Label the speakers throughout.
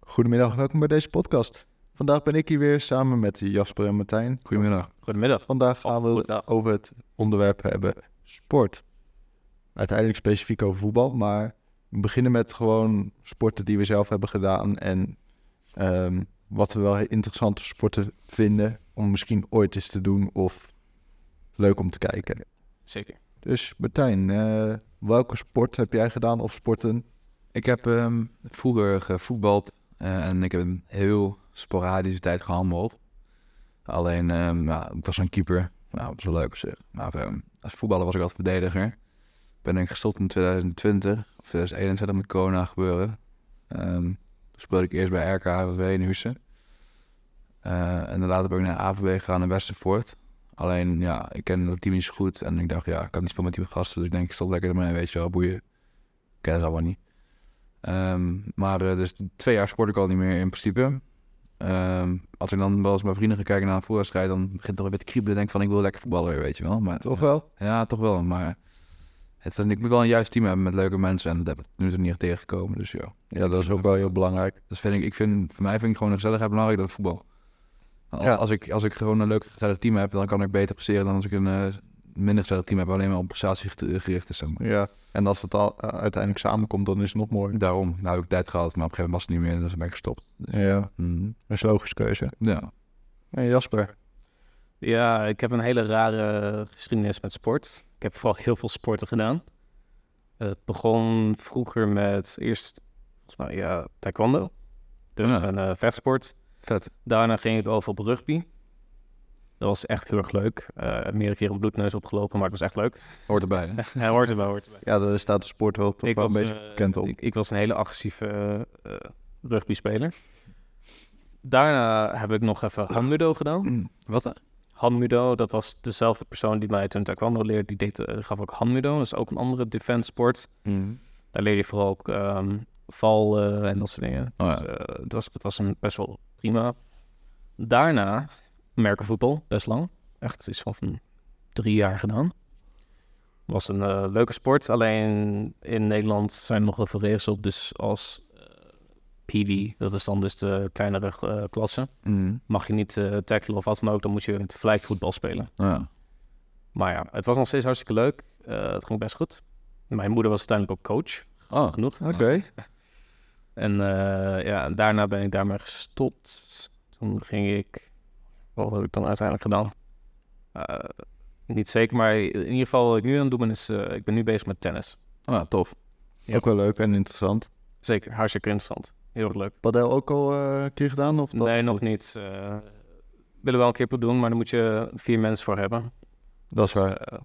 Speaker 1: Goedemiddag, welkom bij deze podcast. Vandaag ben ik hier weer samen met Jasper en Martijn.
Speaker 2: Goedemiddag.
Speaker 3: Goedemiddag.
Speaker 1: Vandaag gaan we het
Speaker 3: Goedendag.
Speaker 1: over het onderwerp hebben sport. Uiteindelijk specifiek over voetbal, maar we beginnen met gewoon sporten die we zelf hebben gedaan en ehm, wat we wel interessante sporten vinden om misschien ooit eens te doen of leuk om te kijken.
Speaker 3: Zeker.
Speaker 1: Dus Martijn, eh, welke sport heb jij gedaan of sporten?
Speaker 2: Ik heb ehm, vroeger gevoetbald eh, en ik heb een heel sporadische tijd gehandbald. Alleen, ehm, ja, ik was een keeper. Nou, dat was wel leuk op zich. Maar ehm, als voetballer was ik altijd verdediger. Ben ik gestopt in 2020 of 2021 met corona gebeuren. Ehm, toen speelde ik eerst bij RKHVV in Hussen. Eh, en daarna ben ik naar AVB gegaan in Westervoort. Alleen, ja, ik ken dat team niet zo goed. En ik dacht, ja, ik kan niet veel met die gasten. Dus ik denk, ik stop lekker ermee, weet je wel, boeien. Ik ken ze allemaal niet. Ehm, maar eh, dus twee jaar sport ik al niet meer in principe. Ehm, als ik dan wel eens met mijn vrienden ga kijken naar een voetbalwedstrijd, dan begint het toch weer te kriebelen. Denk ik van ik wil lekker voetballen weer, weet je wel. Maar, eh,
Speaker 1: Toch wel?
Speaker 2: Ja, toch wel. Maar het, ik moet wel een juist team hebben met leuke mensen. En dat heb ik nu toch niet echt tegengekomen. Dus ja.
Speaker 1: Ja, dat is ook wel heel belangrijk.
Speaker 2: Dus vind ik, ik vind, voor mij vind ik gewoon de gezelligheid belangrijk dan voetbal. Als,
Speaker 1: Ja.
Speaker 2: als, ik, als ik gewoon een leuk gezellig team heb, dan kan ik beter presteren dan als ik een eh, minder gezellig team heb. waar Alleen maar op prestatie ge- gericht is. zeg maar.
Speaker 1: Ja, en als het al, eh, uiteindelijk samenkomt, dan is het nog mooi.
Speaker 2: Daarom, nou heb ik tijd gehad, maar op een gegeven moment was het niet meer. Dus ben ik gestopt.
Speaker 1: Ja, dat
Speaker 2: Mhm.
Speaker 1: is een logische keuze.
Speaker 2: Ja.
Speaker 1: En Jasper?
Speaker 3: Ja, ik heb een hele rare geschiedenis met sport. Ik heb vooral heel veel sporten gedaan. Het begon vroeger met eerst, volgens mij, ja, taekwondo. Dus
Speaker 2: Ja.
Speaker 3: een eh, vechtsport.
Speaker 2: Vet.
Speaker 3: Daarna ging ik over op rugby. Dat was echt heel erg leuk. Eh meerdere keren een bloedneus opgelopen, maar het was echt leuk.
Speaker 2: Hoort erbij. Hè?
Speaker 3: Hij hoort erbij, hoort erbij.
Speaker 1: Ja, daar staat de sport wel toch wel een beetje
Speaker 3: eh,
Speaker 1: bekend op.
Speaker 3: Ik, ik was een hele agressieve eh, eh, rugbyspeler. Daarna heb ik nog even handmudo gedaan.
Speaker 1: Mm.
Speaker 2: Wat? dan?
Speaker 3: Hanmudo, dat was dezelfde persoon die mij toen taekwondo leerde. Die deed, eh, gaf ook hanmudo. Dat is ook een andere defense sport.
Speaker 1: Mm.
Speaker 3: Daar leer je vooral ook ehm vallen en dat soort dingen.
Speaker 2: Oh ja.
Speaker 3: Dus, eh, het was, het was een best wel prima. Daarna merkenvoetbal, best lang. Echt iets van van drie jaar gedaan. Was een eh, leuke sport. Alleen in Nederland zijn er nog wel veel regels op. Dus als eh, PD, dat is dan dus de kleinere eh, klasse,
Speaker 2: Mm.
Speaker 3: mag je niet eh, tackelen of wat dan ook. Dan moet je met vlijkvoetbal spelen.
Speaker 2: Oh ja.
Speaker 3: Maar ja, het was nog steeds hartstikke leuk. Eh, het ging best goed. Mijn moeder was uiteindelijk ook coach,
Speaker 2: Oh,
Speaker 3: genoeg.
Speaker 1: Oké.
Speaker 3: En eh, ja, en daarna ben ik daarmee gestopt. Toen ging ik... Wat heb ik dan uiteindelijk gedaan? Eh, niet zeker, maar in ieder geval wat ik nu aan het doen ben is... eh, ik ben nu bezig met tennis.
Speaker 2: oh ja, tof.
Speaker 3: Ja.
Speaker 1: Ook wel leuk en interessant.
Speaker 3: Zeker, hartstikke interessant. Heel erg leuk.
Speaker 1: Padel ook al eh, een keer gedaan? Of dat,
Speaker 3: nee, nog niet. eh willen wel een keer doen, maar daar moet je vier mensen voor hebben.
Speaker 1: Dat is waar.
Speaker 3: Eh,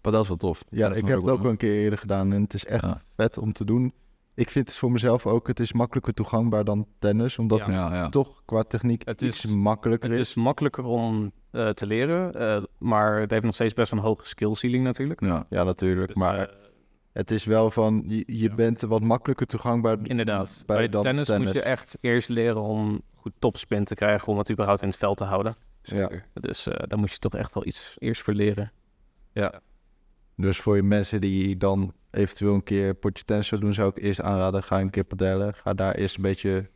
Speaker 2: Padel is wel tof.
Speaker 1: Ja, ik heb het ook wel
Speaker 2: wel.
Speaker 1: een keer eerder gedaan en het is echt
Speaker 2: Ja.
Speaker 1: vet om te doen. Ik vind het voor mezelf ook, het is makkelijker toegankbaar dan tennis, omdat
Speaker 3: Ja.
Speaker 1: het
Speaker 2: Ja, ja.
Speaker 1: toch qua techniek
Speaker 3: Het
Speaker 1: iets
Speaker 3: is-
Speaker 1: makkelijker
Speaker 3: Eh, Het
Speaker 1: is.
Speaker 3: is makkelijker om eh, te leren, eh, maar het heeft nog steeds best wel een hoge skill ceiling natuurlijk.
Speaker 2: Ja.
Speaker 1: Ja, natuurlijk.
Speaker 3: Dus,
Speaker 1: maar
Speaker 3: eh,
Speaker 1: het is wel van, je, je
Speaker 3: ja.
Speaker 1: bent wat makkelijker toegankbaar
Speaker 3: inderdaad,
Speaker 1: bij
Speaker 3: bij,
Speaker 1: dat
Speaker 3: tennis,
Speaker 1: tennis.
Speaker 3: moet je echt eerst leren om goed topspin te krijgen, om het überhaupt in het veld te houden.
Speaker 2: Zeker.
Speaker 3: Dus eh, daar moet je toch echt wel iets eerst voor leren.
Speaker 1: Dus voor je mensen die dan eventueel een keer een potje tennis willen doen, zou ik eerst aanraden, ga een keer padellen. Ga daar eerst een beetje...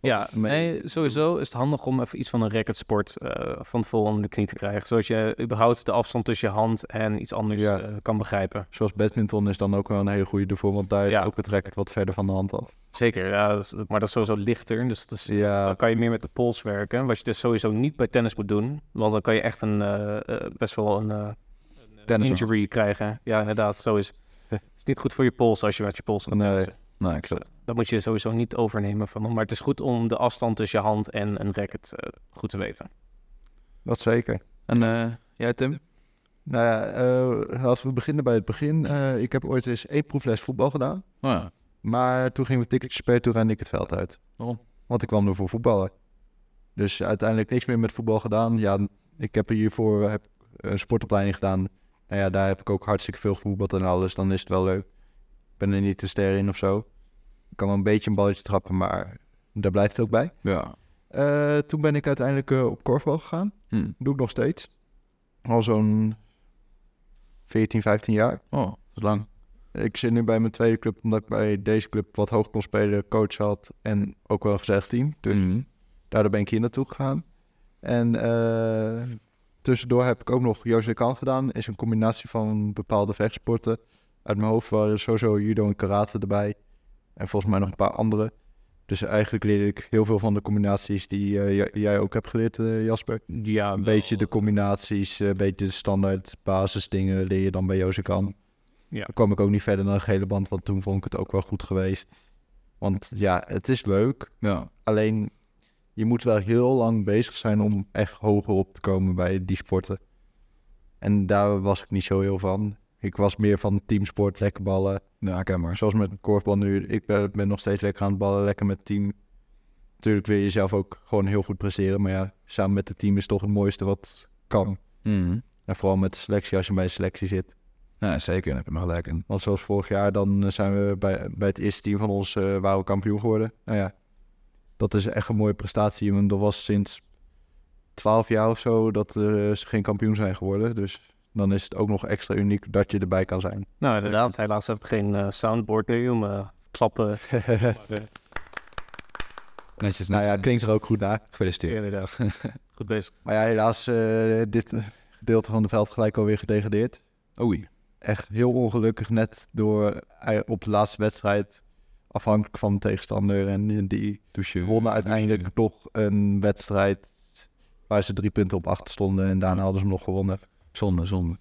Speaker 3: Ja,
Speaker 1: maar-
Speaker 3: nee, sowieso is het handig om even iets van een racketsport eh, van tevoren onder de knie te krijgen, zodat je überhaupt de afstand tussen je hand en iets anders
Speaker 1: Ja.
Speaker 3: eh, kan begrijpen.
Speaker 1: Zoals badminton is dan ook wel een hele goede ervoor, want daar is
Speaker 3: Ja.
Speaker 1: ook het racket wat verder van de hand af.
Speaker 3: Zeker, ja, dat is- maar dat is sowieso lichter, dus dat is
Speaker 1: Ja,
Speaker 3: Dan kan je meer met de pols werken. Wat je dus sowieso niet bij tennis moet doen. Want dan kan je echt een, eh, eh, best wel een eh,
Speaker 2: Tennis.
Speaker 3: injury krijgen. Ja, inderdaad. Zo is het is niet goed voor je pols als je met je pols aan het
Speaker 1: Nee.
Speaker 3: tennissen.
Speaker 2: Nou, ik
Speaker 3: Dus, eh,
Speaker 2: snap.
Speaker 3: dat moet je sowieso niet overnemen van hem. Maar het is goed om de afstand tussen je hand en een racket eh, goed te weten.
Speaker 1: dat zeker.
Speaker 2: En eh, jij, Tim?
Speaker 1: Nou ja, eh, laten we beginnen bij het begin. Eh, ik heb ooit eens één proefles voetbal gedaan.
Speaker 2: Oh ja.
Speaker 1: Maar toen gingen we ticketjes per toen rende ik het veld uit.
Speaker 2: Waarom?
Speaker 1: Want ik kwam er voor voetballen. Dus uiteindelijk niks meer met voetbal gedaan. Ja, ik heb hiervoor eh, heb een sportopleiding gedaan. Nou ja, daar heb ik ook hartstikke veel gevoetbald en alles. Dan is het wel leuk. Ik ben er niet te ster in of zo. Ik kan wel een beetje een balletje trappen, maar daar blijft het ook bij.
Speaker 2: Ja.
Speaker 1: Eh, toen ben ik uiteindelijk eh, op korfbal gegaan.
Speaker 2: Hm.
Speaker 1: Doe ik nog steeds. Al zo'n 14, 15 jaar.
Speaker 2: Oh, dat is lang.
Speaker 1: Ik zit nu bij mijn tweede club, omdat ik bij deze club wat hoog kon spelen, coach had en ook wel een gezegd team. Dus
Speaker 2: Mhm.
Speaker 1: daardoor ben ik hier naartoe gegaan. En eh, tussendoor heb ik ook nog José Kan gedaan. Is een combinatie van bepaalde vechtsporten. Uit mijn hoofd waren er sowieso judo en karate erbij. En volgens mij nog een paar andere. Dus eigenlijk leerde ik heel veel van de combinaties die eh, j- jij ook hebt geleerd, eh, Jasper.
Speaker 3: Ja,
Speaker 1: Een beetje
Speaker 2: Nou.
Speaker 1: de combinaties, eh, een beetje de standaard basisdingen leer je dan bij Jozef kan.
Speaker 3: Ja.
Speaker 1: Dan kwam ik ook niet verder dan een gele band, want toen vond ik het ook wel goed geweest. Want ja, het is leuk.
Speaker 2: Ja.
Speaker 1: Alleen, je moet wel heel lang bezig zijn om echt hoger op te komen bij die sporten. En daar was ik niet zo heel van. Ik was meer van teamsport, lekker ballen.
Speaker 2: ja, ken maar.
Speaker 1: Maar zoals met korfbal nu, ik ben, ben nog steeds lekker aan het ballen, lekker met het team. Natuurlijk wil je jezelf ook gewoon heel goed presteren. Maar ja, samen met het team is toch het mooiste wat kan.
Speaker 2: Mhm.
Speaker 1: En vooral met de selectie, als je bij de selectie zit.
Speaker 2: Ja, zeker. Daar heb je me gelijk in.
Speaker 1: Want zoals vorig jaar, dan eh, zijn we bij, bij het eerste team van ons eh, waren we kampioen geworden. Nou ja, dat is echt een mooie prestatie. Want dat was sinds 12 jaar of zo dat eh, ze geen kampioen zijn geworden. Dus dan is het ook nog extra uniek dat je erbij kan zijn.
Speaker 3: Nou, inderdaad. Helaas heb ik geen eh, soundboard nu om eh, klappen.
Speaker 2: Netjes.
Speaker 1: nou ja,
Speaker 2: netjes.
Speaker 1: klinkt er ook goed naar.
Speaker 2: gefeliciteerd.
Speaker 3: inderdaad. Goed bezig.
Speaker 1: Maar ja, helaas eh, dit eh, gedeelte van de veld gelijk alweer gedegradeerd.
Speaker 2: Oei.
Speaker 1: Echt heel ongelukkig net door eh, op de laatste wedstrijd afhankelijk van de tegenstander. En die
Speaker 2: Douche.
Speaker 1: wonnen uiteindelijk
Speaker 2: douche.
Speaker 1: toch een wedstrijd waar ze drie punten op achter stonden. En daarna hadden ze hem nog gewonnen.
Speaker 2: Zonde, zonde.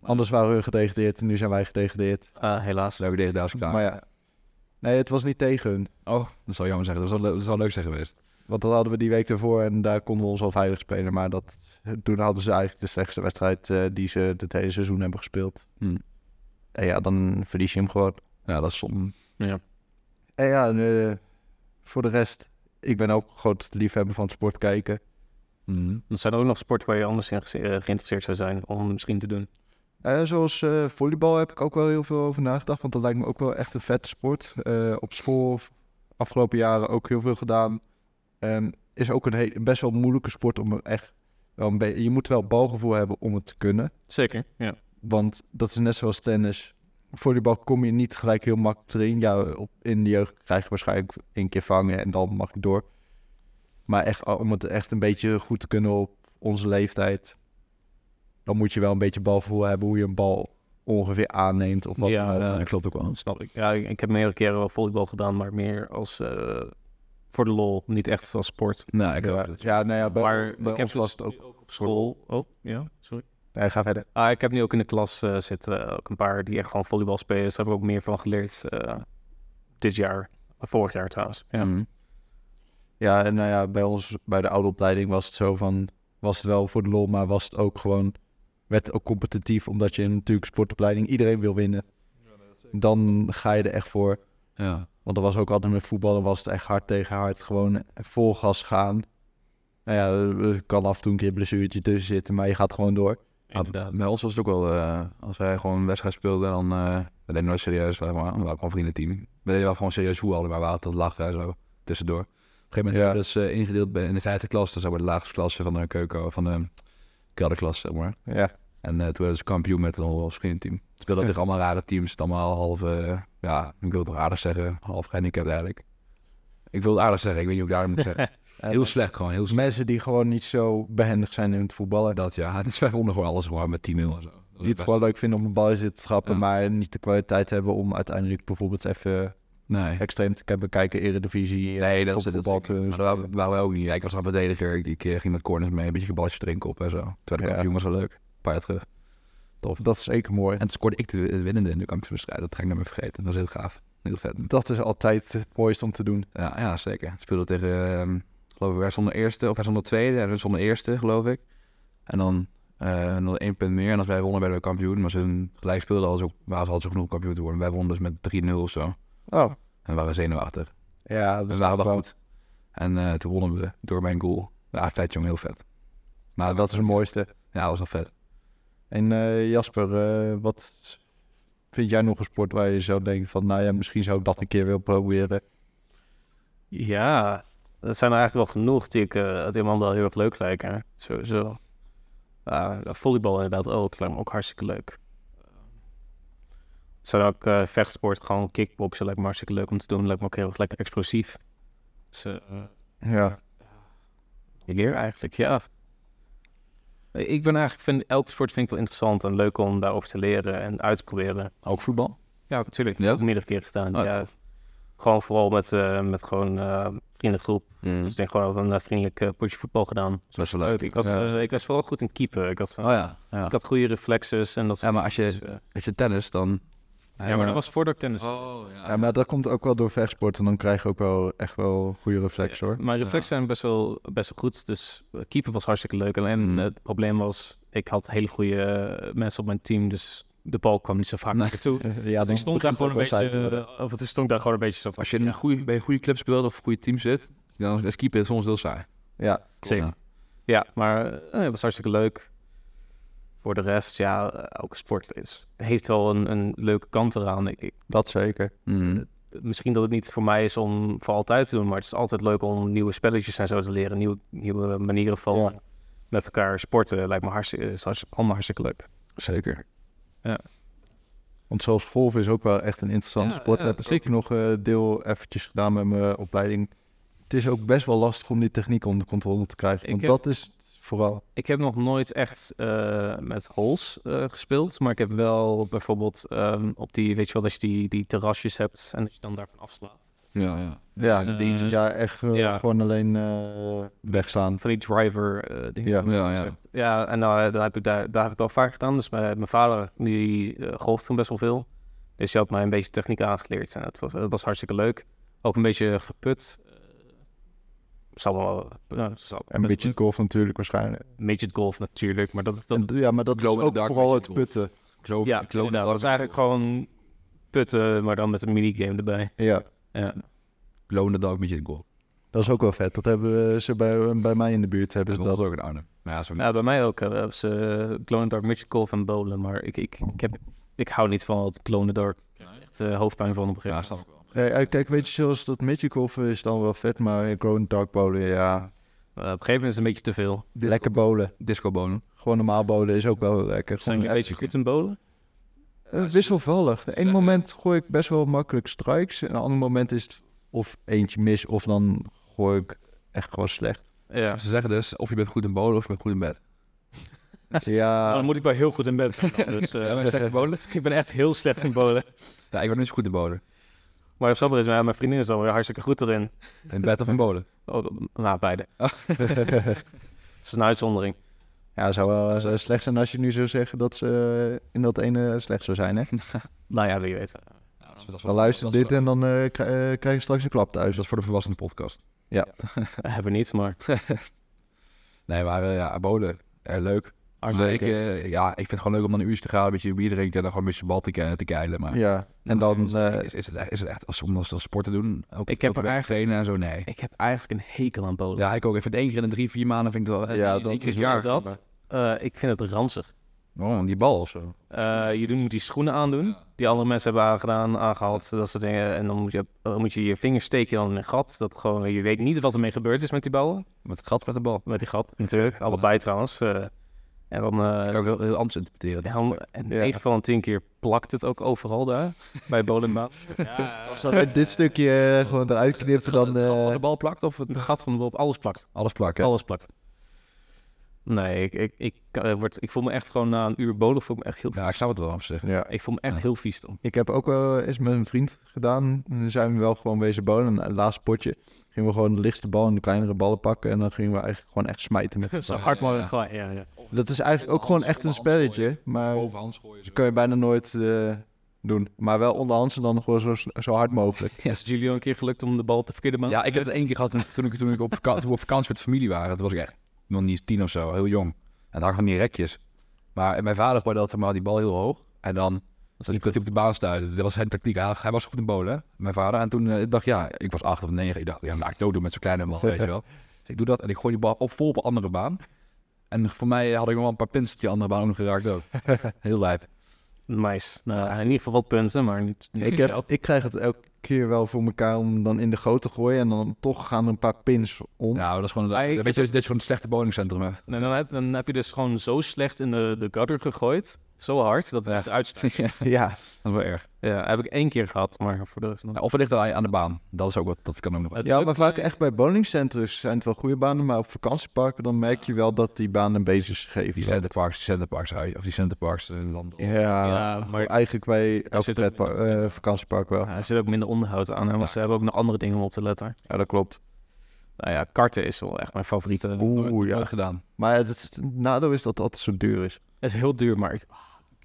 Speaker 1: Anders waren we gedegradeerd en nu zijn wij gedegradeerd.
Speaker 3: Ah, helaas.
Speaker 2: Leuke tegen daar klaar.
Speaker 1: Maar ja, nee, het was niet tegen hun.
Speaker 2: Oh, dat zou jammer zeggen. Dat zou, le- dat zou leuk zijn geweest.
Speaker 1: Want dat hadden we die week ervoor en daar konden we ons al veilig spelen. Maar dat, toen hadden ze eigenlijk de slechtste wedstrijd eh, die ze het hele seizoen hebben gespeeld.
Speaker 2: Hmm.
Speaker 1: En ja, dan verlies je hem gewoon.
Speaker 2: Ja, dat is zonde.
Speaker 1: En ja, en, eh, voor de rest, ik ben ook een groot liefhebber van sport kijken.
Speaker 2: Mhm.
Speaker 3: Er zijn ook nog sporten waar je anders in gese- eh, geïnteresseerd zou zijn om misschien te doen.
Speaker 1: Eh, zoals eh, volleybal heb ik ook wel heel veel over nagedacht, want dat lijkt me ook wel echt een vette sport. Eh, op school afgelopen jaren ook heel veel gedaan. En is ook een he- best wel moeilijke sport om er echt wel een beetje... Je moet wel balgevoel hebben om het te kunnen.
Speaker 3: Zeker, ja.
Speaker 1: Want dat is net zoals tennis. Volleybal kom je niet gelijk heel makkelijk erin. Ja, op, in de jeugd krijg je waarschijnlijk één keer vangen en dan mag je door. Maar echt, om het echt een beetje goed te kunnen op onze leeftijd... dan moet je wel een beetje balgevoel hebben hoe je een bal ongeveer aanneemt. Of wat dan ook.
Speaker 2: Ja, dat klopt ook wel.
Speaker 3: Snap ik. Ja, ik, ik heb meerdere keren wel volleybal gedaan, maar meer als eh, voor de lol, niet echt als sport.
Speaker 2: Nou, ik
Speaker 1: ja,
Speaker 2: ook. Dat-
Speaker 1: ja, nou ja, bij,
Speaker 3: maar
Speaker 1: bij
Speaker 3: ik heb
Speaker 1: ons was
Speaker 3: dus
Speaker 1: het ook...
Speaker 3: nu op school. Oh, ja, sorry.
Speaker 1: Nee, ga verder.
Speaker 3: Ah, ik heb nu ook in de klas eh, zitten eh, ook een paar die echt gewoon volleybal spelen. Dus daar heb ik ook meer van geleerd eh, dit jaar. eh, Vorig jaar trouwens. Ja.
Speaker 1: Mm.
Speaker 2: Mhm.
Speaker 1: Ja, en nou ja, bij ons, bij de oude opleiding was het zo van... was het wel voor de lol, maar was het ook gewoon... werd het ook competitief, omdat je in natuurlijk sportopleiding iedereen wil winnen. Dan ga je er echt voor.
Speaker 2: Ja.
Speaker 1: Want dat was ook altijd met voetballen, was het echt hard tegen hard. Gewoon vol gas gaan. Nou ja, er kan af en toe een keer een blessuurtje tussen zitten, maar je gaat gewoon door. Ah,
Speaker 3: Inderdaad.
Speaker 2: Bij ons was het ook wel, eh, als wij gewoon een wedstrijd speelden, dan eh we deden nooit serieus, zeg maar. We waren gewoon vriendenteam. We deden wel gewoon serieus voetballen, maar we hadden dat lachen en zo, tussendoor. Op een gegeven moment
Speaker 1: Ja.
Speaker 2: hebben we dus eh, ingedeeld bij, in de vijfde klas, dat zou bij de laagste klasse van de keuken, van de kelderklas, zeg maar.
Speaker 1: Ja,
Speaker 2: En eh, toen werden ze kampioen met ons vriendenteam. Speelden tegen allemaal rare teams, het allemaal half, eh, ja, ik wil het wel aardig zeggen, half gehandicapt eigenlijk. Ik wil het aardig zeggen, ik weet niet hoe ik daar moet zeggen. Heel slecht gewoon, heel slecht.
Speaker 1: mensen die gewoon niet zo behendig zijn in het voetballen.
Speaker 2: Dat ja, het is wij wonnen gewoon alles gewoon met 10-0 en zo. Dat is
Speaker 1: Die het
Speaker 2: best-
Speaker 1: gewoon leuk vinden om een bal in zitten te trappen,
Speaker 2: Ja.
Speaker 1: maar niet de kwaliteit hebben om uiteindelijk bijvoorbeeld even
Speaker 2: Nee.
Speaker 1: extreem te kunnen kijken, Eredivisie. eh,
Speaker 2: Nee, dat is
Speaker 1: topvoetbal
Speaker 2: dat,
Speaker 1: te-
Speaker 2: maar dat waren- waren we ook niet. Ja, Ik was een verdediger. Ik, ik, eh, ging met corners mee, een beetje balletje drinken op en zo. Terwijl ik
Speaker 1: Ja.
Speaker 2: kampioen was wel leuk. Een paar jaar terug.
Speaker 1: Dat is zeker mooi.
Speaker 2: En toen scoorde ik de de winnende in de kampioenschap. Dat ga ik nooit meer vergeten. Dat was heel gaaf. Heel vet.
Speaker 1: Dat is altijd het mooiste om te doen.
Speaker 2: Ja, ja zeker. Speelde tegen, ehm, geloof ik, wij stonden eerste. Of wij stonden tweede en hun stonden eerste, geloof ik. En dan eh nog één punt meer. En als wij wonnen, werden we kampioen. Maar ze hun gelijk speelden, hadden ze ook, waren ze- hadden ze genoeg om kampioen te worden. Wij wonnen dus met 3-0 of zo.
Speaker 1: Oh.
Speaker 2: En we waren zenuwachtig.
Speaker 1: Ja, dat
Speaker 2: We
Speaker 1: is
Speaker 2: waren wel
Speaker 1: wel-
Speaker 2: goed. En eh, toen wonnen we door mijn goal. Ja, vet jong, heel vet. Maar
Speaker 1: Dat is het mooiste.
Speaker 2: Ja, dat was wel vet.
Speaker 1: En eh, Jasper, eh, wat vind jij nog een sport waar je zou denken van... nou ja, misschien zou ik dat een keer willen proberen.
Speaker 3: Ja, dat zijn er eigenlijk wel genoeg die ik eh, het helemaal wel heel erg leuk lijken. Sowieso. Ah, volleybal inderdaad ook, dat lijkt me ook hartstikke leuk. zijn ook eh, vechtsport, gewoon kickboksen lijkt me hartstikke leuk om te doen. Lijkt me ook heel erg lekker explosief. Dus eh,
Speaker 1: Ja.
Speaker 3: leer eigenlijk, ja. Ik ben eigenlijk, vind, elke sport vind ik wel interessant en leuk om daarover te leren en uit te proberen.
Speaker 2: Ook voetbal?
Speaker 3: Ja, Ah, natuurlijk.
Speaker 2: Ja?
Speaker 3: Dat heb ik meerdere keren gedaan.
Speaker 2: Oh,
Speaker 3: ja. Gewoon vooral met, eh, met gewoon eh vriendengroep.
Speaker 2: Mm.
Speaker 3: Dus ik denk gewoon altijd een eh, vriendelijk eh, potje voetbal gedaan.
Speaker 2: Dat is best wel leuk.
Speaker 3: Ik was,
Speaker 2: ja.
Speaker 3: eh, ik was vooral goed in keeper. Ik had,
Speaker 2: Oh ja. ja.
Speaker 3: ik had goede reflexes en dat
Speaker 2: Ja, maar als
Speaker 3: Dus,
Speaker 2: je,
Speaker 3: eh,
Speaker 2: als je tennis, dan...
Speaker 3: ja, maar dat was voordat ik tennis.
Speaker 2: Oh, ja.
Speaker 1: ja, maar dat komt ook wel door vechtsport en dan krijg je ook wel echt wel goede reflex hoor.
Speaker 3: Mijn reflexen zijn best wel, best wel goed. Dus eh, keeper was hartstikke leuk. Alleen
Speaker 2: Mm.
Speaker 3: het probleem was, ik had hele goede eh, mensen op mijn team. Dus de bal kwam niet zo vaak
Speaker 2: Nee.
Speaker 3: naar me toe.
Speaker 1: Ja,
Speaker 3: Dus ik stond daar gewoon een beetje,
Speaker 1: beetje...
Speaker 3: eh, of het stond daar gewoon een beetje zo van.
Speaker 2: Als je in een goede, bij een goede club speelt of een goede team zit, dan is keeper soms heel saai.
Speaker 1: Ja,
Speaker 3: Zeker.
Speaker 2: Ja.
Speaker 3: Ja, maar eh, het was hartstikke leuk. Voor de rest, ja, eh, elke sport is, heeft wel een, een leuke kant eraan. Ik, ik-
Speaker 1: dat zeker.
Speaker 2: Mm.
Speaker 3: misschien dat het niet voor mij is om voor altijd te doen, maar het is altijd leuk om nieuwe spelletjes en zo te leren. Nieuwe, nieuwe manieren van
Speaker 1: Ja.
Speaker 3: met elkaar sporten lijkt me hartstikke, is hartstikke, allemaal hartstikke leuk.
Speaker 2: Zeker.
Speaker 1: Want zelfs golf is ook wel echt een interessante
Speaker 2: Ja,
Speaker 1: sport.
Speaker 2: ja,
Speaker 1: heb ik
Speaker 2: zeker.
Speaker 1: ook nog eh, deel eventjes gedaan met mijn eh, opleiding. Het is ook best wel lastig om die techniek onder controle te krijgen.
Speaker 3: Ik
Speaker 1: Want
Speaker 3: heb-
Speaker 1: dat is het vooral.
Speaker 3: Ik heb nog nooit echt eh, met holes eh, gespeeld, maar ik heb wel bijvoorbeeld ehm, op die, weet je wel, dat je die, die terrasjes hebt en dat je dan daarvan afslaat.
Speaker 2: Ja, ja.
Speaker 1: Ja,
Speaker 3: Eh,
Speaker 1: die- ja echt eh,
Speaker 3: ja.
Speaker 1: gewoon alleen eh, wegstaan.
Speaker 3: Van die driver eh dingen.
Speaker 1: Ja.
Speaker 2: Ja, ja.
Speaker 3: Zegt- Ja, en nou, daar, heb ik daar, daar heb ik wel vaak gedaan. Dus mijn, mijn vader die eh, golfde toen best wel veel. Dus die had mij een beetje techniek aangeleerd. En dat was, dat was hartstikke leuk. Ook een beetje geput. Eh, Zal wel... ja, zal-
Speaker 1: En een beetje golf natuurlijk waarschijnlijk.
Speaker 3: midget golf natuurlijk. Maar dat, dat,
Speaker 1: En, ja, maar dat is
Speaker 2: Glow in the
Speaker 1: ook
Speaker 2: dark
Speaker 1: vooral
Speaker 2: met
Speaker 1: het
Speaker 2: je
Speaker 1: putten.
Speaker 2: Ik geloof,
Speaker 3: ja,
Speaker 2: ik geloof
Speaker 3: inderdaad, dat is eigenlijk gewoon putten, maar dan met een minigame erbij.
Speaker 1: Ja,
Speaker 3: Ja.
Speaker 2: Loon dat ook met je goal.
Speaker 1: dat is ook wel vet. Dat hebben we- ze bij, bij mij in de buurt. Hebben
Speaker 2: Dus
Speaker 1: ze
Speaker 2: dat
Speaker 1: dat.
Speaker 2: ook in Arnhem. Maar ja, zo
Speaker 3: Nou, bij mij ook. eh, ze uh, Glow in the Dark, midget golf en bowlen. Maar ik, ik, ik, heb, ik hou niet van het Glow in the Dark. Ik krijg echt eh, hoofdpijn van op een
Speaker 2: ja,
Speaker 3: gegeven
Speaker 2: snap
Speaker 3: moment.
Speaker 2: ik wel.
Speaker 1: Nee, eh, kijk, weet je, zoals dat midget golf is dan wel vet, maar gewoon dark bowlen, ja.
Speaker 3: Eh, op een gegeven moment is het een beetje te veel.
Speaker 1: Lekker bowlen.
Speaker 2: Disco bonen.
Speaker 1: Gewoon normaal bowlen is ook wel
Speaker 3: Zijn
Speaker 1: lekker. Gewoon
Speaker 3: jullie een beetje goed in bowlen?
Speaker 1: Eh, wisselvallig. De ene
Speaker 2: Zeg-
Speaker 1: moment gooi ik best wel makkelijk strikes. En een ander moment is het of eentje mis, of dan gooi ik echt gewoon slecht.
Speaker 3: Ja.
Speaker 2: Ze zeggen dus, of je bent goed in bowlen of je bent goed in bed.
Speaker 1: Ja,
Speaker 3: dan moet ik wel heel goed in bed gaan. dan. Dus, eh,
Speaker 2: Ja, ben je slecht in bowlen?
Speaker 3: ik ben echt heel slecht in bowlen.
Speaker 2: Ja, ik ben niet zo goed in bowlen.
Speaker 3: Maar het grappige is, ja, mijn vriendin is dan weer hartstikke goed erin.
Speaker 2: In bed of in bowlen.
Speaker 3: Oh, nou, beide. Het is een uitzondering.
Speaker 1: ja het zou wel eh, slecht zijn als je nu zou zeggen dat ze eh, in dat ene slecht zou zijn. Hè?
Speaker 3: Nou ja, wie weet.
Speaker 2: Ja, dat is- dat is-
Speaker 1: Dan luister
Speaker 2: dat is-
Speaker 1: dit en dan eh, k- eh, krijg je straks een klap
Speaker 2: Dus
Speaker 1: thuis.
Speaker 2: dat is voor de volwassenen podcast.
Speaker 3: Eh, Hebben we niet, maar
Speaker 2: Nee, maar eh, ja, bowlen. Eh, leuk.
Speaker 3: hartstikke
Speaker 2: Ik, eh, ja, ik vind het gewoon leuk om dan een uurtje te gaan, een beetje bier drinken en dan gewoon een beetje bal te, ke- te keilen. Maar
Speaker 1: Ja, en dan...
Speaker 2: Is,
Speaker 1: eh,
Speaker 2: is, is het, echt- is het echt als, om als, als sport te doen? Ook,
Speaker 3: Ik heb
Speaker 2: ook
Speaker 3: er
Speaker 2: bij
Speaker 3: eigenlijk-
Speaker 2: trainen en zo, nee.
Speaker 3: eh, ik heb eigenlijk een hekel aan bowlen.
Speaker 2: Ja, ik ook. Ik vind één keer in de drie, vier maanden vind ik het wel...
Speaker 1: Ja,
Speaker 2: eh,
Speaker 1: dat
Speaker 2: één keer
Speaker 1: is
Speaker 2: in het jaar.
Speaker 3: dat. Eh, ik vind het ranzig.
Speaker 2: Oh, die bal of zo.
Speaker 3: Eh, je doet- moet die schoenen aandoen, die andere mensen hebben aangedaan, aangehaald, dat soort dingen. En dan moet je, dan moet je je vingers steken dan in een gat. Dat gewoon, je weet niet wat ermee gebeurd is met die ballen.
Speaker 2: Met het gat met de bal.
Speaker 3: Met die gat, natuurlijk. Allebei trouwens. eh. en dan... eh,
Speaker 2: Dat kan ik heel, heel anders interpreteren.
Speaker 3: En dan- en
Speaker 1: Ja.
Speaker 3: in ieder geval een tien keer plakt het ook overal daar, bij Bolenbaan. Ja,
Speaker 1: als we dit stukje eh, gewoon eruit knippen, dan...
Speaker 2: Het gat van
Speaker 1: eh,
Speaker 2: de bal plakt of het...
Speaker 3: de gat van de op alles plakt.
Speaker 2: Alles plakken.
Speaker 3: Alles plakt. Nee, ik, ik, ik, eh, word, ik voel me echt gewoon na een uur bolen, voel ik me echt heel,
Speaker 2: Ja, ik zou het wel op zich.
Speaker 1: ja.
Speaker 3: ik voel me echt
Speaker 2: Ja.
Speaker 3: heel vies dan.
Speaker 1: Ik heb ook wel eens met een vriend gedaan. Dan zijn we wel gewoon wezen bonen. Een laatste potje gingen we gewoon de lichtste bal en de kleinere ballen pakken. En dan gingen we eigenlijk gewoon echt smijten met
Speaker 3: Zo
Speaker 1: elkaar.
Speaker 3: hard
Speaker 2: ja, ja.
Speaker 3: mogelijk. gewoon- Ja, ja.
Speaker 1: Dat is eigenlijk ook gewoon echt een spelletje. Maar dat
Speaker 2: Bovenhands gooien.
Speaker 1: kun je bijna nooit eh, doen. Maar wel onderhands en dan gewoon zo, zo hard mogelijk.
Speaker 3: Is het jullie al een keer gelukt om de bal op de verkeerde baan?
Speaker 2: Ja, ik heb het één keer gehad toen, toen ik, toen ik op, vaka- toen we op vakantie met de familie waren. Toen was ik echt nog niet eens tien of zo, heel jong. En dan hang van die rekjes. Maar en mijn vader gooide altijd maar die bal heel hoog. En dan zat hij op de baan stuiten. Dus Dat was zijn tactiek. Hij, hij was goed in bolen, mijn vader. En toen eh, ik dacht ja, ik was acht of negen. Ik dacht, ja, laat ik dood doen met zo'n kleine bal, weet je wel. Dus ik doe dat en ik gooi die bal op vol op een andere baan. En voor mij had ik nog wel een paar pins op die andere baan ook nog geraakt ook. Heel lijp.
Speaker 3: Nice. Nou, in ieder geval wat punten, maar niet... niet-
Speaker 1: Ik, heb, ik krijg het elke keer wel voor elkaar om dan in de goot te gooien. En dan toch gaan er een paar pins om.
Speaker 2: Ja, maar dat is gewoon,
Speaker 3: Ah, ik-
Speaker 2: weet je, dit is gewoon een slechte bowlingcentrum. hè.
Speaker 3: En dan, heb, dan heb je dus gewoon zo slecht in de, de gutter gegooid, Zo hard dat het
Speaker 2: Ja.
Speaker 3: dus eruit staat.
Speaker 2: ja,
Speaker 1: Ja,
Speaker 2: dat is wel erg.
Speaker 3: Ja, heb ik één keer gehad, maar voor de rest nog.
Speaker 2: Ja, of het ligt aan aan de baan. Dat is ook wat, dat kan ook nog wel.
Speaker 3: Het
Speaker 1: ja
Speaker 3: lukt
Speaker 1: maar vaak
Speaker 3: mij-
Speaker 1: echt bij bowlingcentrums zijn het wel goede banen, maar op vakantieparken dan merk je wel dat die banen een beetje
Speaker 2: Die
Speaker 1: scheef zijn.
Speaker 2: centerparks, die centerparks, uit- of die centerparks eh, landen.
Speaker 1: Ja,
Speaker 3: Ja,
Speaker 2: ah.
Speaker 3: maar-
Speaker 1: eigenlijk bij elke
Speaker 3: zit ook-
Speaker 1: pretpa- eh, vakantiepark wel.
Speaker 3: Ja, er zit ook minder onderhoud aan, hè, want
Speaker 2: Ja.
Speaker 3: ze hebben ook nog andere dingen om op te letten.
Speaker 1: Ja, dat klopt.
Speaker 3: Nou ja, karten is wel echt mijn favoriete.
Speaker 1: Oeh,
Speaker 2: Nooit-
Speaker 1: ja.
Speaker 2: nooit gedaan.
Speaker 1: Maar het, het nadeel is dat het altijd zo duur is.
Speaker 3: Het is heel duur, maar ik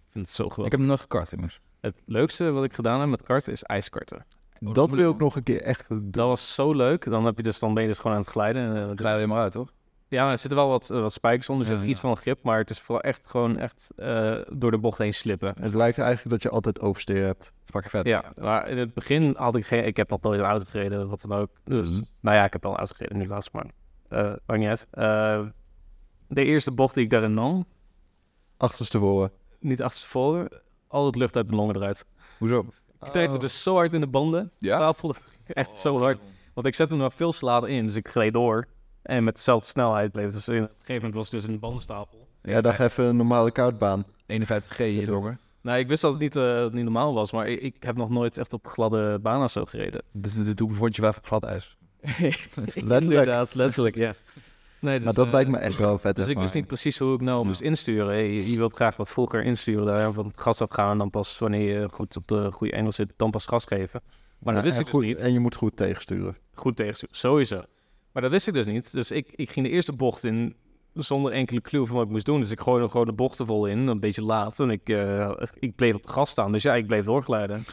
Speaker 3: ik vind het zo geweldig.
Speaker 2: Ik heb hem nooit gekart, immers.
Speaker 1: Oh,
Speaker 3: Het leukste wat ik gedaan heb met karten is ijskarten.
Speaker 2: Oh,
Speaker 1: dat
Speaker 2: moet
Speaker 1: wil ik nog een keer echt doen.
Speaker 3: Dat was zo leuk. Dan, heb je dus, dan ben je dus gewoon aan het glijden. En, eh,
Speaker 2: Dan Glij je maar uit, toch?
Speaker 3: ja, maar er zitten wel wat, eh, wat spijkers onder, dus
Speaker 2: Ja,
Speaker 3: je hebt iets van grip. Maar het is vooral echt gewoon echt eh, door de bocht heen slippen.
Speaker 1: Het lijkt eigenlijk dat je altijd oversteer hebt.
Speaker 2: Pak je vet.
Speaker 3: Ja, maar in het begin had ik geen... Ik heb nog nooit een auto gereden, wat dan ook. Dus,
Speaker 2: Mhm.
Speaker 3: nou ja, ik heb wel een auto gereden nu laatst, maar... eh maakt niet uit. Eh, de eerste bocht die ik daarin nam,
Speaker 1: Achterstevoren.
Speaker 3: niet achterstevoren, al het lucht uit mijn longen eruit.
Speaker 2: Hoezo?
Speaker 1: Oh.
Speaker 3: Ik treedde dus zo hard in de banden.
Speaker 2: Ja?
Speaker 3: Stapelde echt zo hard.
Speaker 1: Oh,
Speaker 3: Want ik zette hem nog veel te laat in, dus ik gleed door. En met dezelfde snelheid bleef het. Dus in- op een gegeven moment was het dus een bandenstapel.
Speaker 1: Ja, daar even een normale koudbaan.
Speaker 2: 51G hier, jongen.
Speaker 3: Nou, ik wist dat het niet, eh, dat het niet normaal was, maar ik, ik heb nog nooit echt op gladde banen zo gereden.
Speaker 2: Dus dit doe ik vond je wel even glad ijs.
Speaker 1: Letterlijk.
Speaker 3: Inderdaad, letterlijk, ja. Nee, dus,
Speaker 1: Maar dat
Speaker 3: eh,
Speaker 1: lijkt me echt wel een vet.
Speaker 3: Dus ik wist niet
Speaker 1: ervaring.
Speaker 3: precies hoe ik nou moest insturen. Hey, je, je wilt graag wat vroeger insturen, daar van het gas afgaan. En dan pas wanneer je goed op de goede engel zit, dan pas gas geven. Maar dat
Speaker 1: Ja,
Speaker 3: wist
Speaker 1: en
Speaker 3: ik dus
Speaker 1: goed,
Speaker 3: niet.
Speaker 1: En je moet goed tegensturen.
Speaker 3: goed tegensturen. Sowieso. Maar dat wist ik dus niet. Dus ik, ik ging de eerste bocht in zonder enkele clue van wat ik moest doen. Dus ik gooide gewoon de bochten vol in, een beetje laat. En ik, eh, ik bleef op de gas staan. Dus ja, ik bleef doorglijden.